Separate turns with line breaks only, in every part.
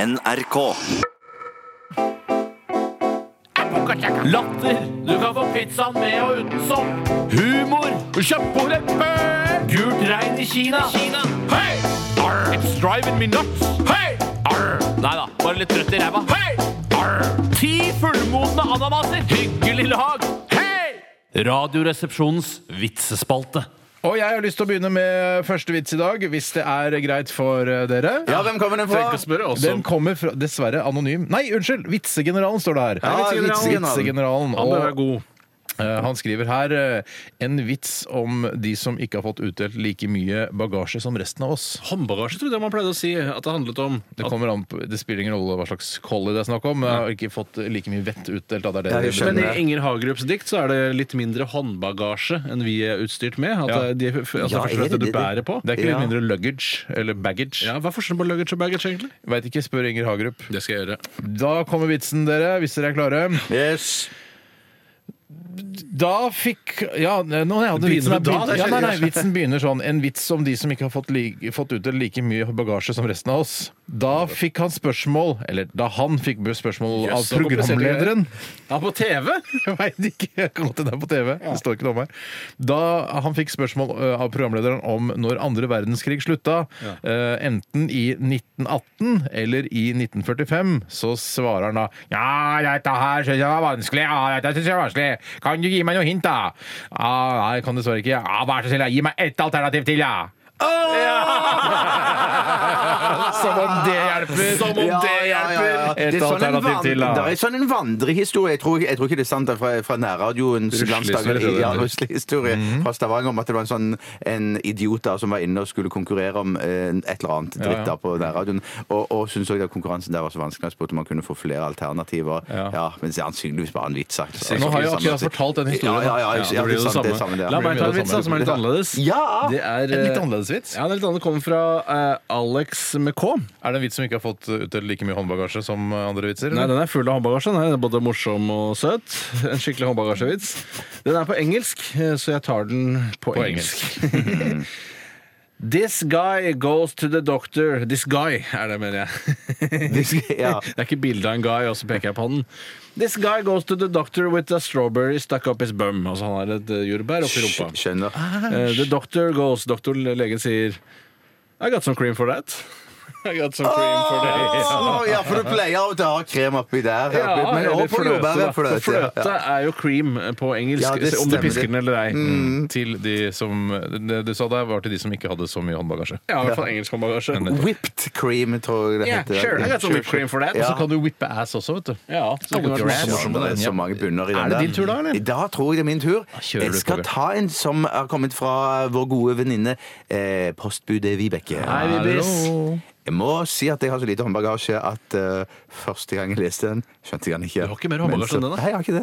NRK.
Latter. Du kan få pizzaen med og uten sopp. Humor. Kjøttbordet før. Gult regn i Kina. Hei! Arr. It's driving me nuts. Hei! Arr. Nei da, bare litt trøtt i ræva. Hei! Arr. Ti fullmodne ananaser. Hyggelig lag. Hei! Radioresepsjonens vitsespalte.
Og jeg har lyst til å begynne med første vits i dag, hvis det er greit for eh, dere.
Ja, hvem kommer den fra?
Tenk å spørre også.
Den kommer fra, dessverre anonym. Nei, unnskyld! Vitsegeneralen står det her.
Ja,
Vitsegeneralen.
vitsegeneralen.
Og, eh, han skriver her eh, en vits om de som ikke har fått utdelt like mye bagasje som resten av oss.
Håndbagasje trodde jeg man pleide å si at det handlet om.
Det, kommer an på, det spiller ingen rolle hva slags collie det er snakk om, men jeg har ikke fått like mye vett utdelt. Da. Det er det
Ja, jeg
vi
skjønner.
Men i Inger Hagerups dikt så er det litt mindre håndbagasje enn vi er utstyrt med. At
Ja.
det, de, altså
Ja,
først og
er det
fremst det du
det?
bærer på.
Det er ikke
Ja.
mindre luggage eller baggage.
Ja, hva er forskjellen på luggage og baggage, egentlig?
Veit ikke, spør Inger Hagerup.
Det skal jeg gjøre.
Da kommer vitsen, dere, hvis dere er klare.
Yes.
Da fikk Ja, nå jeg hadde
Begynner
vitsen
du da?
begynner-
Det
ja, nei, nei,
skjer
vitsen begynner sånn. En vits om de som ikke har fått, li- fått ut like mye bagasje som resten av oss. Da fikk han spørsmål Eller da han fikk spørsmål
Jøss,
av
så kompliserte
programlederen.
Ja, på TV!
Jeg veit ikke. Jeg kan godt hende det er på TV. Det står ikke noe om her. Da han fikk spørsmål ø, av programlederen om når andre verdenskrig slutta, ø, enten i 1918 eller i 1945, så svarer han da Ja, dette her syns jeg var vanskelig. Ja, dette synes jeg var vanskelig. Kan du gi meg noe hint, da? Ja, nei, jeg kan dessverre ikke. Ja, Vær så snill, da, gi meg ett alternativ til, ja. Ja! Som om det hjelper.
Som om det hjelper!
Det er
Et
sånn en,
alternativ
van-
til, da.
det er sånn en vandrehistorie. Jeg tror, jeg tror ikke det er sant det er fra, fra nærradioens
Ruslehistorie,
glansdag.
tror jeg det
Ja,
er.
ruslehistorie
Mhm.
fra Stavanger om at det var en sånn en idiot da som var inne og skulle konkurrere om eh, et eller annet dritt da på nærradioen. Og, og syntes også at konkurransen der var så vanskelig. Han spurte om han kunne få flere alternativer. Ja, Men det er sannsynligvis bare en vits. sagt.
Nå har jeg jo akkurat fortalt den historien,
Ja, ja, ja, ja,
Ja, det blir
det
jo
er
det
sant, det er
samme.
samme, det er.
La meg ta en vits da, som er litt annerledes.
Ja!
Det er,
En litt
eh,
annerledes vits.
Ja, det er litt annerledes. Kommer fra eh, Alex med K.
Er det en vits som ikke har fått utdelt like mye håndbagasje som andre vitser?
Nei,
eller?
den er full av håndbagasje. Den er både morsom og søt. En skikkelig håndbagasjevits. Den er på engelsk, eh, så jeg tar den på,
På
engelsk. This guy goes to the doctor. This guy er det, mener jeg.
Ja.
Det er ikke bilde av en guy, og så peker jeg på den. This guy goes to the doctor with a strawberry stuck up his bum. Altså han har et eh, jordbær oppi rumpa.
Skjønner.
Eh, the doctor goes Doktor legen sier I got some cream for that. I got some cream for that.
Å, ja, for du pleier av og til å ha krem oppi der.
Ah! Ja,
men
eller
også på jordbærene,
da. For
fløte.
fløte er jo cream på engelsk,
Ja, det
om du
stemmer.
pisker den eller ei. mm,
Til de som Det du sa der, var til de som ikke hadde så mye håndbagasje.
Ja, i hvert fall engelsk håndbagasje.
Ja. Whipped cream, tror jeg det
Yeah,
heter.
sure. I got some whipped cream for that.
Ja.
Så kan du whippe ass også, vet du.
Ja, så det kunne vært
Ass.
masse
Ja,
morsomt.
det er så mange bunner i den
Er det din tur da, eller?
I dag tror jeg det er min tur.
kjører
Jeg
du, Tore.
skal ta en som har kommet fra vår gode venninne eh, postbudet Vibeke.
Hallo.
Jeg må si at jeg har så lite håndbagasje at eh, første gang jeg leste den, skjønte jeg den ikke. Du
har ikke mer håndbagasje enn den, da?
Nei, jeg har ikke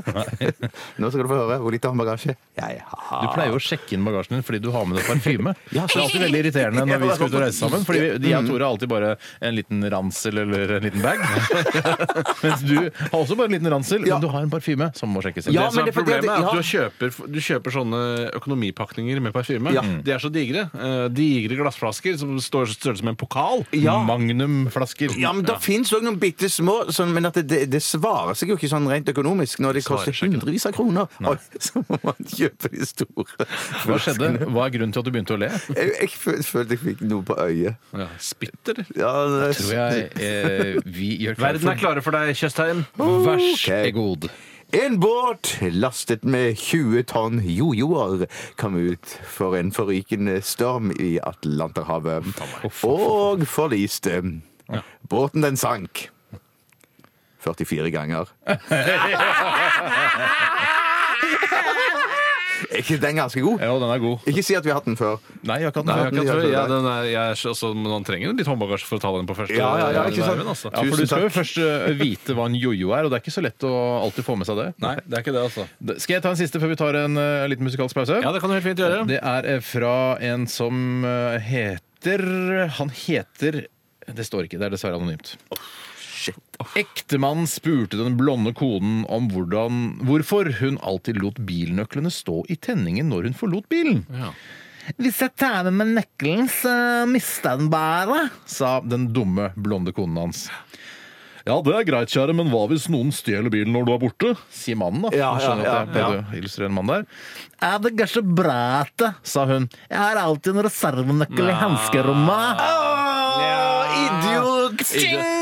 det. Nå skal du få høre hvor lite håndbagasje jeg
Du
har.
pleier jo å sjekke inn bagasjen din fordi du har med deg parfyme.
Ja,
Det er alltid veldig irriterende når vi skal ut og reise sammen. Fordi vi-
Mm.
jeg og Tore har alltid bare en liten ransel eller en liten bag. Mens du har også bare en liten ransel, men du har en parfyme som må sjekkes inn.
Ja,
Det som
men
er
det er fordi at-
problemet, er at
ja.
du kjøper, du kjøper sånne økonomipakninger med parfyme.
Ja.
Mm.
De er så digre. Eh, Digre glassflasker som står størrelse med en pokal.
Ja.
Magnumflasker.
Ja, men Det finnes òg noen bitte små, sånn, men at det- det, det svarer seg jo ikke sånn rent økonomisk når det koster hundrevis av kroner. Og så må man kjøpe de store.
Hva skjedde? Hva er grunnen til at du begynte å le?
Jeg, jeg føl- følte jeg fikk noe på øyet.
Ja, Spitter.
Ja, det-
Tror jeg eh, vi gjør klart
Verden er klare for deg, Tjøstheim.
Vær så
Ok.
god.
En båt lastet med 20 tonn jojoer kom ut for en forrykende storm i Atlanterhavet og forliste. Båten den sank 44 ganger. Er ikke den ganske god?
Ja, den er god.
Ikke si at vi har hatt den før.
Nei, jeg kan
Nei, jeg kan
Ja,
tro-
det er-
ja, den er, jeg er, så- altså, men han trenger jo litt håndbagasje for å ta den på første
Ja, ja, ja, ikke sant?
nerven, altså.
Ja, for
Tusen
Du skal jo
takk.
først eh, vite hva en jojo er, og det er ikke så lett å alltid få med seg det.
Nei, det er ikke det, altså.
Da- Skal jeg ta en siste før vi tar en eh, liten musikalsk pause?
Ja, det kan du helt fint gjøre.
Det er eh, fra en som eh, heter Han heter det står ikke, det er dessverre anonymt. Ektemannen spurte den blonde konen om hvordan, hvorfor hun alltid lot bilnøklene stå i tenningen når hun forlot bilen. Hvis jeg tar med meg nøkkelen, så mister jeg den bare, sa den dumme, blonde konen hans. Ja, det er greit, kjære, men hva hvis noen stjeler bilen når du er borte? Sier mannen, da.
Ja,
Jeg skjønner
ja,
at jeg
ja,
prøvde å illustrere en mann der. Er det kanskje bræte, sa hun. Jeg har alltid en reservenøkkel i hanskerommet.
Idiot!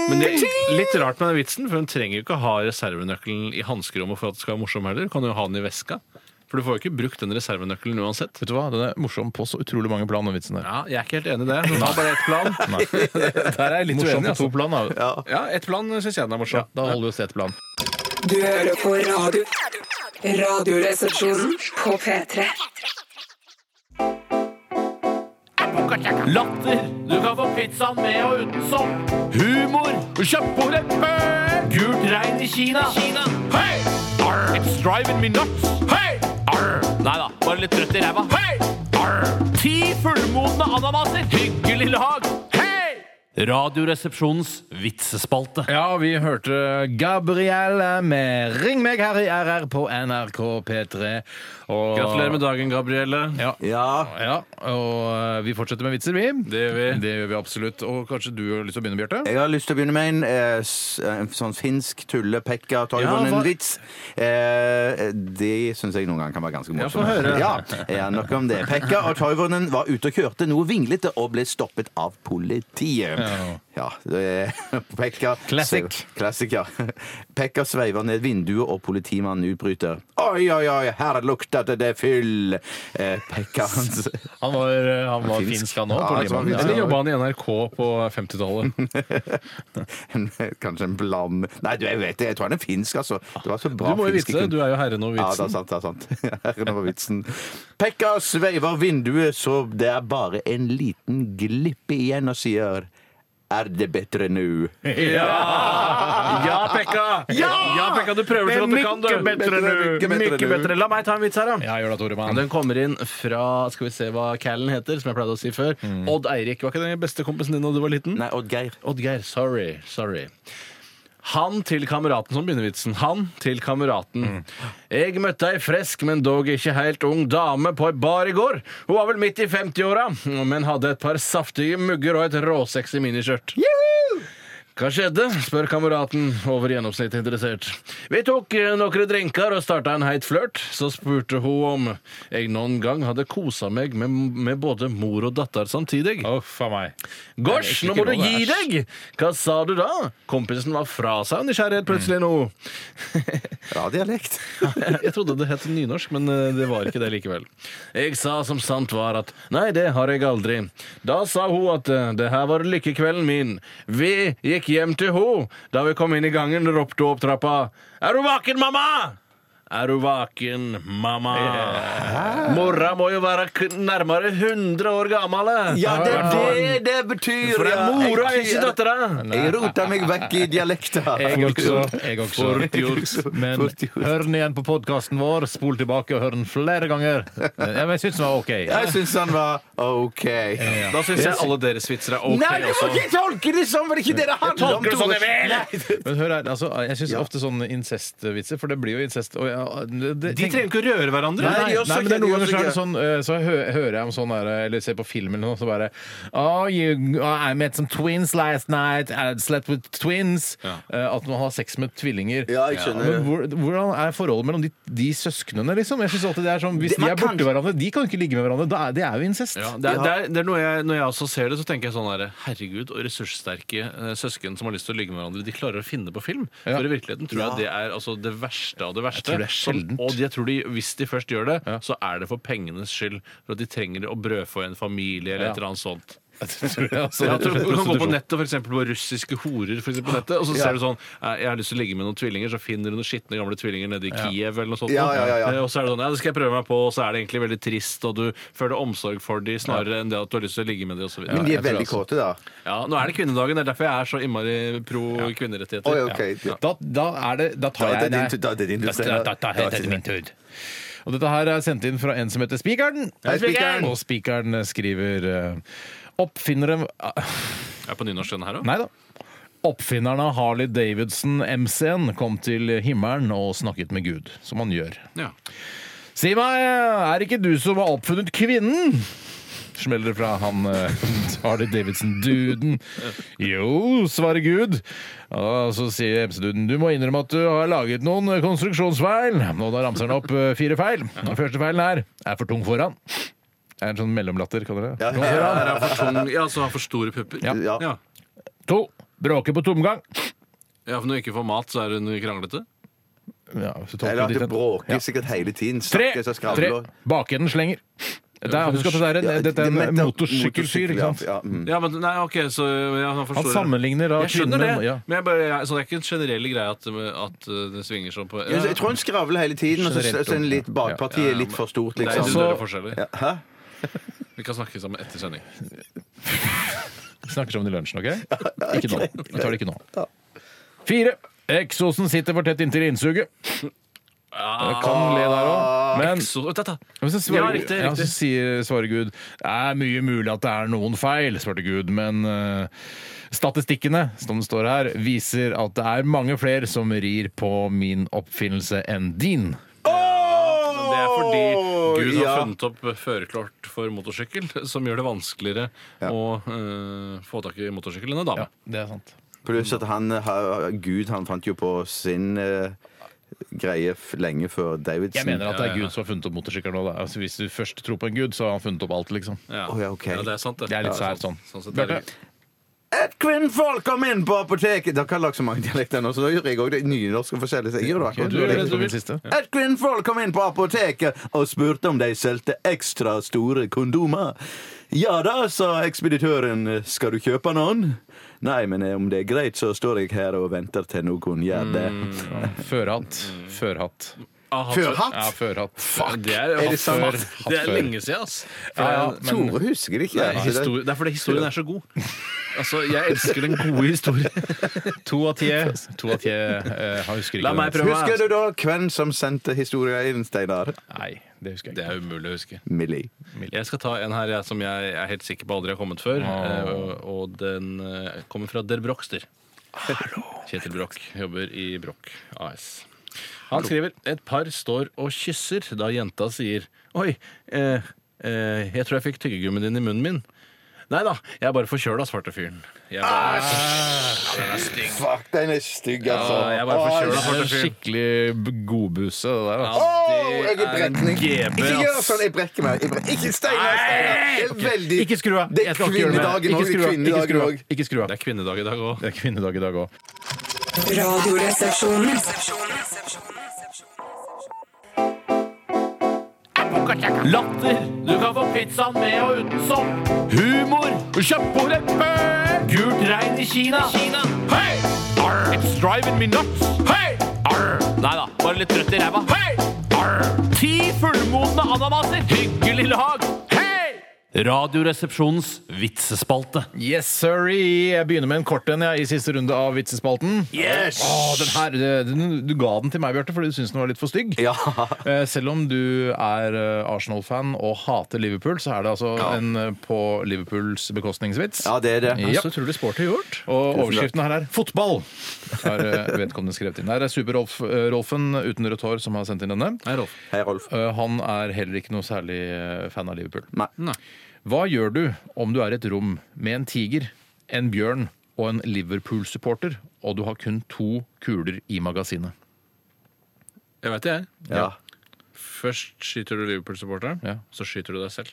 Men det er litt rart med den vitsen, for hun trenger jo ikke ha reservenøkkelen i hanskerommet for at det skal være morsom heller. Kan jo ha den i veska. For du får jo ikke brukt den reservenøkkelen uansett.
Vet du hva, den er morsom på så utrolig mange plan, den vitsen der.
Ja, jeg er ikke helt enig i det. Hun har bare ett plan. Der er jeg litt
Morsom
uenig,
på to
altså.
plan, da.
Ja, ett plan syns jeg den er morsom.
Da holder vi oss til ett plan.
Du hører på radio. Radioresepsjonen på P3.
Latter. Du kan få pizzaen med og uten sopp. Humor. Kjøpt på leppe. Gult regn i Kina. Kina. Hey! Arr. It's driving me nuts. Hey! Arr. Nei da, bare litt trøtt i ræva. Hey! Arr. Ti fullmodne ananaser. Hyggelig lag. Hei! Radioresepsjonens vitsespalte.
Ja, vi hørte Gabrielle med 'Ring meg her i RR' på NRK P3. Og,
Gratulerer med dagen, Gabrielle.
Ja.
Ja.
Ja, og eh, vi fortsetter med vitser, vi.
Det gjør vi.
Det gjør vi absolutt. Og kanskje du har lyst til å begynne, Bjarte?
Jeg har lyst til å begynne med en, eh, s- en sånn finsk tullepekka
Ja, hva-
Toivonen-vits. Eh, det syns jeg noen ganger kan være ganske morsomt.
få høre.
Ja, ja, nok om det. Pekka og Toivonen var ute og kjørte noe vinglete og ble stoppet av politiet. Ja, det er- Pekka
Classic.
Classic, ja. Pekka sveiver ned vinduet, og politimannen utbryter. Oi, oi, oi, her luktet det fyll! Eh, Pekka hans
Han var, eh, han var
Finsk.
finsk, han òg.
Ja, jeg tror han var
Eller
finsk.
jobba han i NRK på 50-tallet?
Kanskje en bland... Nei, du, jeg vet det. Jeg tror han er finsk, altså. Det var så
Du
bra
må jo
finske
vitse.
kun-
Du er jo herren over
Ja, det er
vitsen.
sant. det er sant. Herren over vitsen. Pekka sveiver vinduet, så det er bare en liten glippe igjen, og sier Er det bedre nå?
Ja, Pekka! Ja! Pekka, Du prøver så godt du kan. du.
Mykje bedre nu.
Mykje bedre. La meg ta en vits her, da.
Ja, gjør det,
Ja,
Toremann.
Den kommer inn fra skal vi se hva Callen heter, som jeg pleide å si før.
Mm.
Odd Eirik. Var ikke den beste kompisen din da du var liten?
Nei, Oddgeir.
Oddgeir. Sorry. Sorry. Han til kameraten som begynner vitsen. Han til
Mm.
kameraten. Jeg møtte ei fresk, men dog ikke helt ung dame på ei bar i går. Hun var vel midt i 50-åra, men hadde et par saftige mugger og et råsexy miniskjørt. Hva skjedde? spør kameraten, over gjennomsnittet interessert. Vi tok eh, noen drinker og starta en heit flørt. Så spurte hun om jeg noen gang hadde kosa meg med, med både mor og datter samtidig.
Uff a meg.
Gosh, nå må du gi deg! Hva sa du da? Kompisen var fra seg av nysgjerrighet plutselig nå.
Bra dialekt.
Jeg trodde det het nynorsk, men eh, det var ikke det likevel. Jeg sa som sant var at nei, det har jeg aldri. Da sa hun at eh, det her var lykkekvelden min. Vi gikk hjem til hun. Da vi kom inn i gangen, ropte hun opp trappa. Er du vaken, mamma? Er du vaken, mamma? Mora må jo være k nærmere 100 år gammel.
Ja, det er det det betyr!
For det
ja.
er mora, ikke dattera.
Jeg rota meg vekk i dialekta.
Jeg også. Jeg
Fort
også.
gjort.
Men
Fort gjort.
hør den igjen på podkasten vår. Spol tilbake og hør den flere ganger. Ja, men Jeg syns den var OK.
Jeg syns han var OK.
Da syns jeg alle deres vitser er ok
Nei, du må
også.
ikke tolke det sånn! Var det ikke det det handler om?
tolker det sånn jeg vil.
Men hør her, altså, jeg syns ofte sånne incestvitser, for det blir jo incest og jeg, det, det,
De trenger ikke å røre hverandre.
Nei,
Nei,
nei,
de også
men det er
ikke-
noen
de
ganger så er det
også
sånn eh, Så hø hører jeg om sånn der, eller ser på film eller noe, så bare Oh, you, I met some twins last night. I slept with twins. Eh, at man har sex med tvillinger.
Ja, jeg skjønner
Men hvor, hvordan er forholdet mellom de, de søsknene, liksom? Jeg synes alltid det er sånn Hvis
Det-
de
man
er
kan-
borte hverandre, de kan ikke ligge med hverandre. Da er, det er jo incest.
Ja, det er, det er, det er noe jeg, når jeg også ser det, så tenker jeg sånn der, Herregud, og ressurssterke eh, søsken som har lyst til å ligge med hverandre, de klarer å finne det på film.
Ja.
For i virkeligheten tror jeg det er altså, det verste av det verste.
tror det er
Som-
sjeldent.
og jeg tror de, hvis de først gjør det, så er det for pengenes skyld. For at de trenger å brødfø en familie eller
Ja.
et eller annet sånt.
Tror jeg, altså.
Ja, tror, du kan gå på
Prostitusjon.
nettet for eksempel, på russiske horer, for eksempel, på nettet, og så ser du sånn eh, Jeg har lyst til å ligge med noen tvillinger, så finner du noen skitne gamle tvillinger nede i Kiev eller noe sånt.
Ja, ja, ja, ja.
Eh, Og så er det sånn Ja, det skal jeg prøve meg på, og så er det egentlig veldig trist, og du føler omsorg for de snarere enn det at du har lyst til å ligge med de, og så
Men
videre.
de er veldig kåte, da.
Ja, nå er det kvinnedagen, det er derfor jeg er så innmari pro
Oi,
kvinnerettigheter.
ok.
Da, da er det Da tar
Da er
jeg
det din tur- da er det din tur.
Da, da, da, da, da er det min tur. Og dette her er sendt inn fra en som heter Spikeren.
Hei, Spikeren!
Og Spikeren skriver eh, Oppfinnere
Jeg er på nynorsk denne her òg.
Nei da. Oppfinneren av Harley Davidson MC-en kom til himmelen og snakket med Gud, som han gjør.
Ja.
Si meg, er det ikke du som har oppfunnet kvinnen? smeller det fra han eh, Harley Davidson-duden. Jo, svarer Gud. Og så sier MC-duden du må innrømme at du har laget noen konstruksjonsfeil. Og da ramser han opp eh, fire feil. Den første feilen er er for tung foran. Det er en sånn mellomlatter, kan dere? Tung foran.
Er han for tung? Ja, så har for store pupper?
Ja.
Ja.
Ja.
To. Bråker på tomgang.
Ja, for når hun ikke får mat, så er hun kranglete?
Ja, hvis du tolker
Eller at
dit
det
hen.
bråker
Ja.
sikkert hele tiden.
Tre!
Snakkes og
Tre.
skravler.
Bakenden slenger. Dette er, husk at det er en,
Ja,
dette er
det-
en motorsykkelfyr. ikke
ja,
sant?
Ja, mm.
Ja, men nei, ok, så ja, han forstår
Han sammenligner da
Jeg skjønner det,
kvinnen- ja.
men jeg bare, jeg, så det er ikke en generell greie at, at uh, det svinger sånn på
Ja, så Jeg tror han skravler hele tiden, og så
Generelt
så er litt bakpartiet
Ja, ja,
litt for stort,
Det er
liksom.
Så-
individuelle forskjeller.
Ja, Hæ?
Vi kan snakke sammen etter sending.
Vi snakker sammen i lunsjen, OK? Ikke nå. Vi tar det ikke nå. Fire. Eksosen sitter for tett inntil innsuget. Jeg kan le der
Ah,
òg, men
Ah, Så, vet du, dette.
Men så svarer,
Ja, riktig,
så
riktig.
sier, svarer Gud det er mye mulig at det er noen feil, svarte Gud, men eh, statistikkene som det står her, viser at det er mange flere som rir på min oppfinnelse enn din.
Men det er fordi Gud har
ja.
funnet opp førerkort for motorsykkel, som gjør det vanskeligere å uh, få tak i motorsykkel enn en dame.
det er sant.
Pluss at han har Gud, han fant jo på sin eh, greie f lenge før Davidson.
Jeg mener at det
Ja,
er
ja, ja.
Gud som har funnet opp motorsykkelen nå. da. Altså, hvis du først tror på en Gud, så har han funnet opp alt, liksom.
Ja.
Å, ja, ok.
det er sant, det.
Det er litt
Ja,
sært sånn.
sånn sett er
Bjarte,
det litt-
Et kvinnfolk kom inn på apoteket! Dere har lagd så mange dialekter nå, så da gjør jeg òg det nynorske forskjellig. Så jeg gjør det akkurat
du er sånn
det.
redd for min siste.
Et kvinnfolk kom inn på apoteket og spurte om de solgte ekstra store kondomer. Ja da, sa ekspeditøren, skal du kjøpe noen? Nei, men eh, om det er greit, så står jeg her og venter til noen gjør det.
Mm,
Førhatt. Førhatt.
Ah, hatt-
Ja,
Førhatt?
førhatt.
Fuck! Det er,
Er det sant?
hatt før. det er
Hatt før.
lenge siden, ass. For
Ja, ja,
jeg-
men
Tore husker ikke.
Nei, histori- det er fordi historien er så god. Altså, Jeg elsker den gode historien.
to av ti To av ti eh, han husker ikke.
La meg
det.
prøve.
Husker du da hvem som sendte historien inn, Steinar?
Nei, det husker jeg
Det
ikke.
er umulig å huske.
Millie.
Jeg skal ta en her jeg, som jeg er helt sikker på aldri har kommet før. eh, Og, og den eh, kommer fra Der Brokster. Kjetil Broch jobber i Broch AS. Han skriver et par står og kysser da jenta sier Oi, eh, eh, jeg tror jeg fikk tyggegummien din i munnen min. Nei da, jeg er bare forkjøla, svarte fyren. Jeg er bare,
Fuck, den er stygg, altså.
Ja, jeg er bare
Det
forkjøla,
er
svarte
en
fyren.
skikkelig godbuse, det der. Altså.
Åh,
det
jeg er i
er
brekning.
GB,
Ikke gjør
ass.
sånn, jeg brekker meg. Jeg brekker. Ikke Steinar! Steinar. Det er veldig-
Ikke skru av!
Det
Jeg
er
skal ikke gjøre det.
kvinnedagen
Ikke
òg.
skru av, Ikke skru
Kvinnedagen
av.
òg.
Ikke skru av.
det er kvinnedag i dag òg.
Det er kvinnedag i dag òg.
Radioresepsjonen.
Latter. Du kan få pizzaen med og uten sopp. Humor. Kjøpt på leppe. Gult regn i Kina. Hei! Arr. It's driving me nuts. Hei! Arr. Nei da, bare litt trøtt i ræva. Hei! Arr. Ti fullmodne ananaser. Hyggelig lag. Hei! Radioresepsjonens vitsespalte.
Yes, sorry. Jeg begynner med en kort en jeg, i siste runde av vitsespalten.
Yes!
Å, den her, eh, den, du ga den til meg, Bjarte, fordi du syntes den var litt for stygg.
Ja.
Eh, Selv om du er eh, Arsenal-fan og hater Liverpool, så er det altså en eh, på Liverpools bekostningsvits.
ja, det er det.
Ja.
Så utrolig sporty gjort.
Og overskriften her er 'Fotball'! Har eh, vedkommende skrevet inn. Her er Super-Rolfen eh, uten rødt hår som har sendt inn denne.
Nei, Rolf.
Hei, Rolf.
Eh, Han er heller ikke noe særlig eh, fan av Liverpool.
Nei.
Hva gjør du om du er i et rom med en tiger, en bjørn og en Liverpool-supporter, og du har kun to kuler i magasinet?
Jeg veit det, jeg.
Ja.
Først skyter du Liverpool-supporteren,
Ja.
så skyter du deg selv.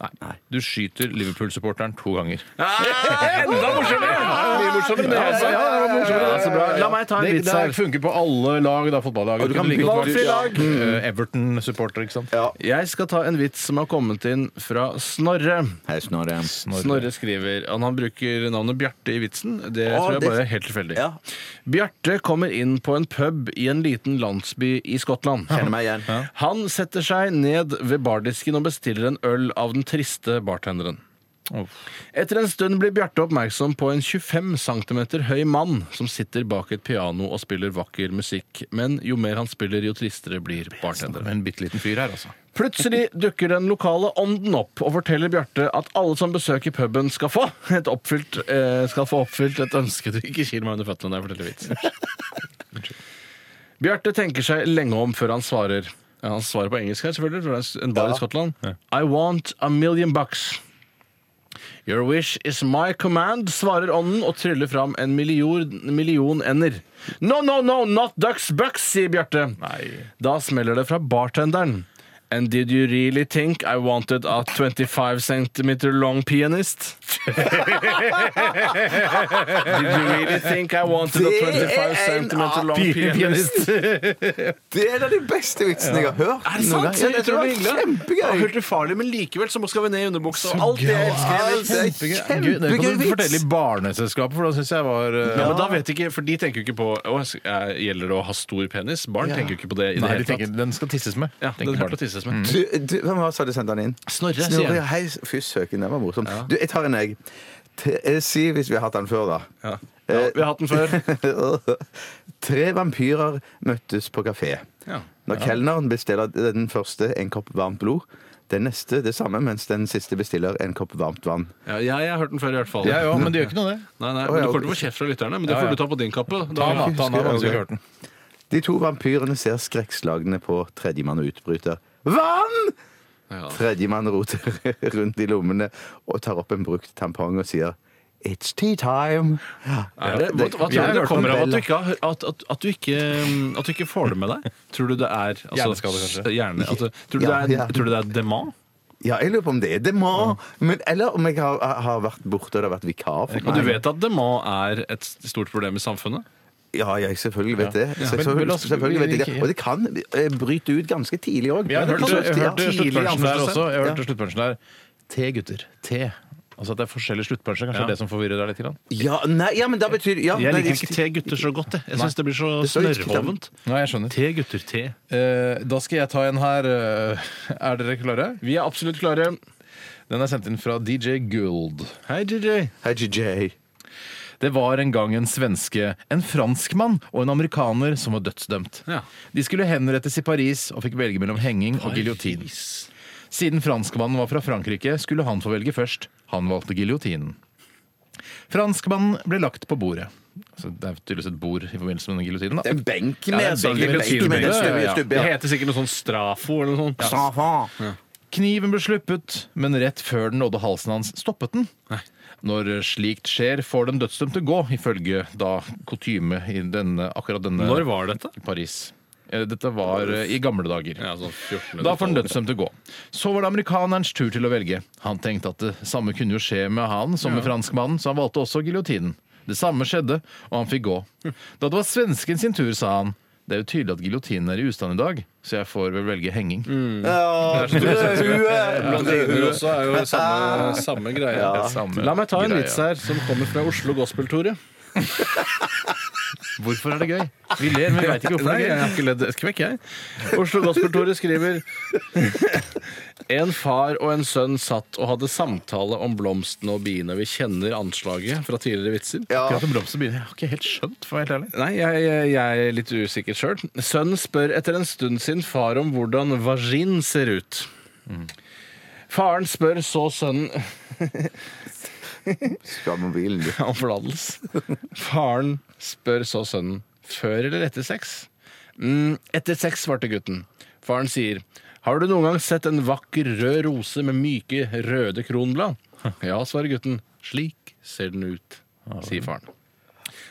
Nei. Du skyter Liverpool-supporteren to ganger.
Enda La meg ta en
det,
vits
det
her.
funker på alle lag, da, fotballaget.
du kan
Kunne like godt
bytte-
vært, eh, Everton-supporter, ikke sant?
ja.
Jeg skal ta en vits som har kommet inn fra Snorre.
Hei, Snorre.
Snorre.
Snorre skriver Han, han bruker navnet Bjarte i vitsen. Det
Å,
tror jeg
det-
bare er helt tilfeldig.
Ja.
Bjarte kommer inn på en pub i en liten landsby i Skottland.
Kjenner meg igjen.
Han setter seg ned ved bardisken og bestiller en øl av den triste bartenderen. Etter en stund blir Bjarte oppmerksom på en 25 cm høy mann som sitter bak et piano og spiller vakker musikk, men jo mer han spiller, jo tristere blir bartenderen.
En bitte liten fyr her, altså.
Plutselig dukker den lokale ånden opp og forteller Bjarte at alle som besøker puben, skal få, et oppfylt, eh, skal få oppfylt et ønske du ikke kiler meg under føttene når jeg forteller vitser. Bjarte tenker seg lenge om før han svarer. Ja, han svarer på engelsk her, selvfølgelig, for det er en bar i Skottland. I want a million bucks. Your wish is my command, svarer ånden og tryller fram en million, million ender. No, no, no, not ducks bucks, sier Bjarte. Da smeller det fra bartenderen. And did you really think I wanted a 25 centimeter long pianist? did you really think I wanted a
Det er
25
en
centimeter long
pi-
pianist?
Det er en av de beste vitsene jeg har hørt.
Er det
noen
sant?
gang. Ja, dette var kjempegøy.
Helt ufarlig, men likevel så skal vi ned i underbuksa. og Alt det jeg elsker.
Ja, det er
Gøy, det kan du
vits.
fortelle i barneselskapet, for da syns jeg var eh,
Ja, men da vet ikke, for De tenker jo ikke på å, sk- eh, gjelder det å ha stor penis. Barn tenker jo ikke på det. i det
Nei, de
hele
tenker,
tatt
den skal tisses med.
ja,
tenker
den
barnet.
hørte tisses med.
Du, du, hvem var det som hadde sendt den inn?
Snorre, sier
Snorre,
jeg.
ja, hei, fy søken, den var morsom. Du, jeg tar en, jeg. T- eh, Si hvis vi har hatt den før, da. Eh,
Ja. Ja, vi har hatt den før.
Tre vampyrer møttes på kafé.
Ja.
Når kelneren bestiller den første en kopp varmt blod, den neste det samme, mens den siste bestiller en kopp varmt vann.
Ja, jeg, jeg har hørt den før, i hvert fall.
Ja, ja, men det gjør ikke noe, det.
Nei, nei,
Å,
men
ja,
Du kommer
ok.
til å få kjeft fra lytterne, men det
Ja,
får
ja.
du ta på din kappe.
Ta
Da.
den, da. Ta den, da,
Husker jeg,
hvis du ikke
ok.
har hørt den.
De to vampyrene ser skrekkslagne på tredjemann og utbryter. Vann!
Ja.
Tredjemann roter rundt i lommene og tar opp en brukt tampong og sier It's tea time.
Er det, hva, hva
Jeg har
tror du det
hørt
kommer
om
av at du
Bella.
ikke, har- at, at, at, du ikke, mm, at du ikke får det med deg? Tror du det er altså,
Hjerneskade, kanskje?
s- Hjerne, at, du- tror, du
Ja,
det
ja.
er, tror du det er demant?
Ja, jeg lurer på om det er det må. Men, eller om jeg har, har vært borte og det har vært vikar. For
Og du
meg.
vet at demant er et stort problem i samfunnet?
Ja, jeg selvfølgelig vet det. Så
Men- men la
Selvfølgelig,
oss-
selvfølgelig vet jeg
vi-
det. Og det kan eh, bryte ut ganske tidlig òg.
Jeg hørte, jeg hørte sluttpunchen
tidlig
der
ansettelse.
også. Jeg hørte sluttpunchen der. Te, gutter. Te. Altså at det er forskjellige sluttpunsjer. Kanskje
Ja.
det er det som forvirrer deg litt? Grann.
Ja, nei, ja, men da betyr ja,
Jeg
nei,
liker ikke te gutter så godt. Jeg, jeg syns det blir så
Det står ikke
snørrhovent.
Nei, jeg skjønner.
Te gutter, te.
Eh, da skal jeg ta en her. eh, Er dere klare?
Vi er absolutt klare.
Den er sendt inn fra DJ Gould.
Hei, DJ.
Hei, JJ.
Det var en gang en svenske, en franskmann og en amerikaner som var dødsdømt.
Ja.
De skulle henrettes i Paris og fikk velge mellom henging og giljotin. Siden franskmannen var fra Frankrike, skulle han få velge først. Han valgte giljotinen. Franskmannen ble lagt på bordet. Så det er tydeligvis et bord i forbindelse med den giljotinen. da.
En benk
det
med
er en
sånn-
benk med
benk med
stubbe,
en stubbe,
ja, ja.
stubbe,
Det
ja.
heter sikkert noe sånn strafo eller noe sånt.
Kniven ble sluppet, men rett før den nådde halsen hans, stoppet den. Når slikt skjer, får den dødsdømte gå, ifølge da kutyme i denne, akkurat denne
Når var dette?
Paris. Eh, Dette var eh, i gamle dager.
Ja, sånn 14.
Da får den dødsdømte gå. Så var det amerikanerens tur til å velge. Han tenkte at det samme kunne jo skje med han som med franskmannen, så han valgte også giljotinen. Det samme skjedde, og han fikk gå.
Hm.
Da det var svensken sin tur, sa han det er jo tydelig at giljotinen er i ustand i dag, så jeg får vel velge henging.
Mm.
Ja,
Blondiner også er jo samme, samme greie.
Det er samme
La meg ta en
greia.
vits her som kommer fra Oslo Gospel-Tore.
Hvorfor er det gøy? Vi ler, men vi veit ikke hvorfor
Nei,
det
jeg
er
har
gøy.
ikke ledd et kvekk, jeg. Oslo Gospel-Tore skriver En far og en sønn satt og hadde samtale om blomstene og biene. Vi kjenner anslaget fra tidligere vitser.
Akkurat om blomster begynner jeg har ikke helt skjønt, for å være helt ærlig.
Nei, jeg, jeg er litt usikker sjøl. Sønnen spør etter en stund sin far om hvordan vagin ser ut. Mm. Faren spør så sønnen
Skamvill.
om forlatelse. Faren spør så sønnen før eller etter sex. Mm, etter sex, svarte gutten. Faren sier har du noen gang sett en vakker rød rose med myke røde kronblad? Ja, svarer gutten. Slik ser den ut, sier faren.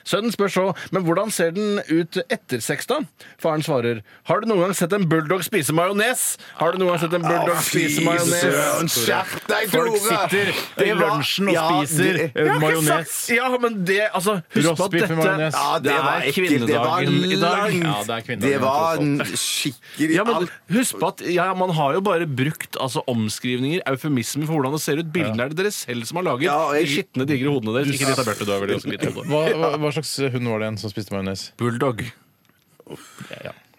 Sønnen spør så, men hvordan ser den ut etter sex, da? Faren svarer, har du noen gang sett en bulldog spise majones? Har du noen gang sett en bulldog spise majones?
Skjerp deg, Tore!
Folk sitter i
Det var-
lunsjen og
Ja,
spiser
det-
eh,
Jeg har ikke
majones.
sagt- Ja, men det altså, Husk på at
Rostbiff med
dette
majones.
Ja, det,
Det er
var ekkelt. Det var
kvinnedagen i dag.
langt.
Ja, det er kvinnedagen,
det var
tross
en skikkelig
altså. ja, men
alt.
Husk på at ja, man har jo bare brukt altså, omskrivninger, eufemismer, for hvordan det ser ut. Bildene er det dere selv som har laget.
Ja, og jeg-
De skitne, digre hodene deres. Ikke dette Bjarte, du har vel ganske lite hode.
Hva, hva, hva slags hund var det igjen som spiste majones?
Bulldog.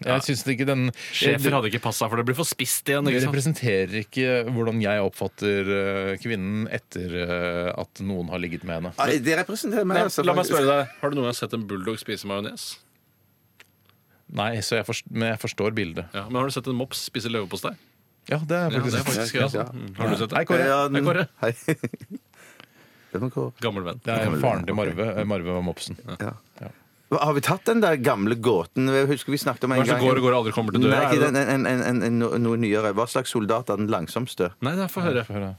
Jeg syns ikke den
Schæfer hadde ikke passa, for det blir for spist igjen.
Det
Ikke sant?
representerer ikke hvordan jeg oppfatter eh, kvinnen etter eh, at noen har ligget med henne.
Nei, Det representerer meg.
Nei,
altså,
la meg
faktisk.
spørre deg, Har du noen gang sett en bulldog spise majones?
Nei, så jeg forst men jeg forstår bildet.
Ja, men har du sett en mops spise leverpostei?
Ja, det er
Ja, det er
faktisk
faktisk gøy. Altså.
Ja.
Mm. Har du sett
Hei,
det?
Kåre.
Ja,
Hei, Kåre.
Hei. Det var Kåre.
Gammel venn.
Det er faren til Marve. eh, Marve var mopsen.
Ja. Hva, Har vi tatt den der gamle gåten? Jeg husker vi snakket om en
Hva er det som
gang
går og går og aldri kommer til døra?
Nei,
er
ikke
det-
den, en, en, en, en, no- noe nyere. Hva slags soldat er den langsomste?
Nei, nei, få høre.
Få høre.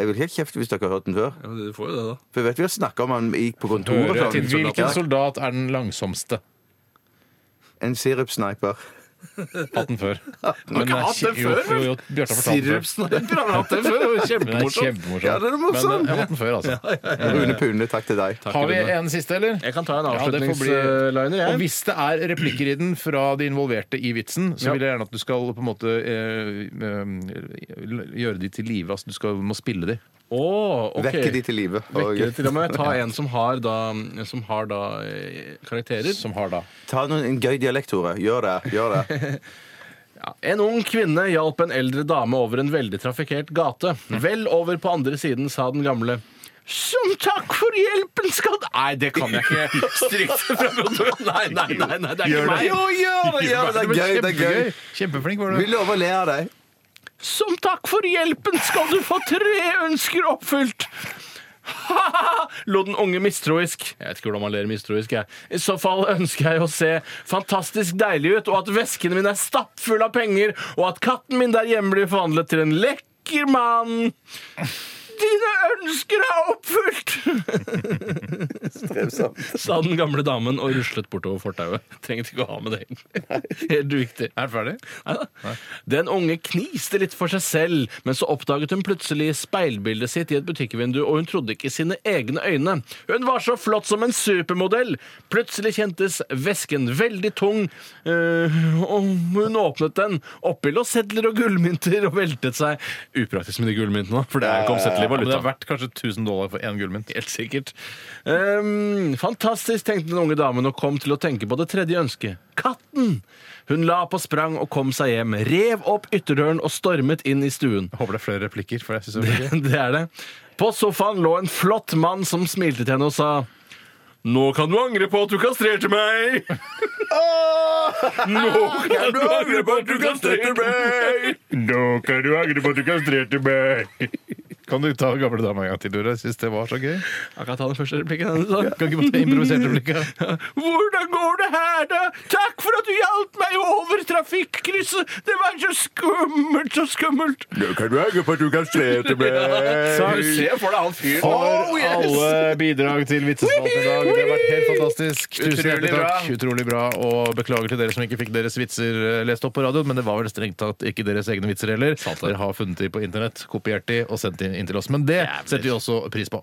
Jeg vil helt kjefte hvis dere har hørt den før.
Ja, men du får jo det, da.
For jeg vet vi har snakka om han gikk på kontoret.
Høre
og
til.
sånn.
Hvilken soldat er den langsomste?
En sirupsniper.
Hatt den før. Men
ikke
det er
hatt den
kje- jo,
før, vel?
jo, jo, Bjarte har fortalt den før.
Sirupsniper har vi hatt det før! det var
Men det er
Kjempemorsomt.
kjempemorsomt.
Ja, det er
Men eh, jeg
morsomt!
har hatt den før, altså.
Rune Pune, takk til deg.
Har vi en siste, eller?
Jeg kan ta en
Ja, det får bli-
avslutningsliner,
Og
jeg.
hvis det er replikker i den fra de involverte i vitsen, så
Ja.
vil jeg gjerne at du skal på en måte eh, eh, gjøre de til live. Altså du skal, må spille de.
Åh, ok.
Vekke de til live. Og
Vekke de til. Da må jeg ta en som har da, som har da eh, karakterer.
Som har da
ta noen, en gøy dialekt, Tore. Gjør det. gjør det
Ja. En ung kvinne hjalp en eldre dame over en veldig trafikkert gate. Vel over på andre siden sa den gamle. Som takk for hjelpen skal du Nei, det kan jeg ikke strikte fra protokollen. Nei, nei, nei, nei, det er ikke meg.
Jo, gjør det! Gjør det. Det er gøy. det er gøy
Kjempeflink var
Vi
du.
lover å le av deg.
Som takk for hjelpen skal du få tre ønsker oppfylt! Ha-ha! Lo den unge mistroisk. Jeg vet ikke hvordan man ler mistroisk. Jeg. I så fall ønsker jeg å se fantastisk deilig ut, og at veskene mine er stappfulle av penger, og at katten min der hjemme blir forvandlet til en lekker mann. Dine ønsker er oppfylt! Sa den gamle damen og ruslet bortover fortauet. Trengte ikke å ha med det, egentlig. Helt uviktig.
Er den ferdig?
Neida. Den unge kniste litt for seg selv, men så oppdaget hun plutselig speilbildet sitt i et butikkvindu, og hun trodde ikke sine egne øyne. Hun var så flott som en supermodell! Plutselig kjentes vesken veldig tung, eh, og hun åpnet den. Oppi lå sedler og gullmynter og veltet seg. Upraktisk med de gullmyntene, for det er ikke omsettelig
Men det
valuta.
er verdt kanskje 1000 dollar for én gullmynt.
Helt sikkert. Ehm, fantastisk, tenkte den unge damen og kom til å tenke på det tredje ønsket. Katten! Hun la på sprang og kom seg hjem, rev opp ytterdøren og stormet inn i stuen.
Jeg Håper det er flere replikker. For jeg synes det er gøy.
Det er det. På sofaen lå en flott mann som smilte til henne og sa nå kan du angre på at du kastrerte meg! Nå kan du angre på at du kastrerte meg!
Nå kan du angre på at du kastrerte meg! Kan du ta gamle dama en gang til, Dore? Jeg synes det var så gøy.
Jeg kan ta den første replikken. Denne,
Kan ikke bare ta improvisert replikk. ja.
Hvordan går det her, da? Takk for at du hjalp meg over trafikkrysset! Det var så skummelt, så skummelt!
Nå kan du henge på at du kan slete med
Takk.
for deg han fyren. Oh,
for alle bidrag til Vitsespalten i dag. Det har vært helt fantastisk. Tusen
Utrolig
hjertelig takk.
bra.
Utrolig bra. Og beklager til dere som ikke fikk deres vitser eh, lest opp på radioen, men det var vel strengt tatt ikke deres egne vitser heller. Dere har funnet de på internett, kopiert de og sendt de inn til oss. Men det
Jævler.
setter vi også pris på.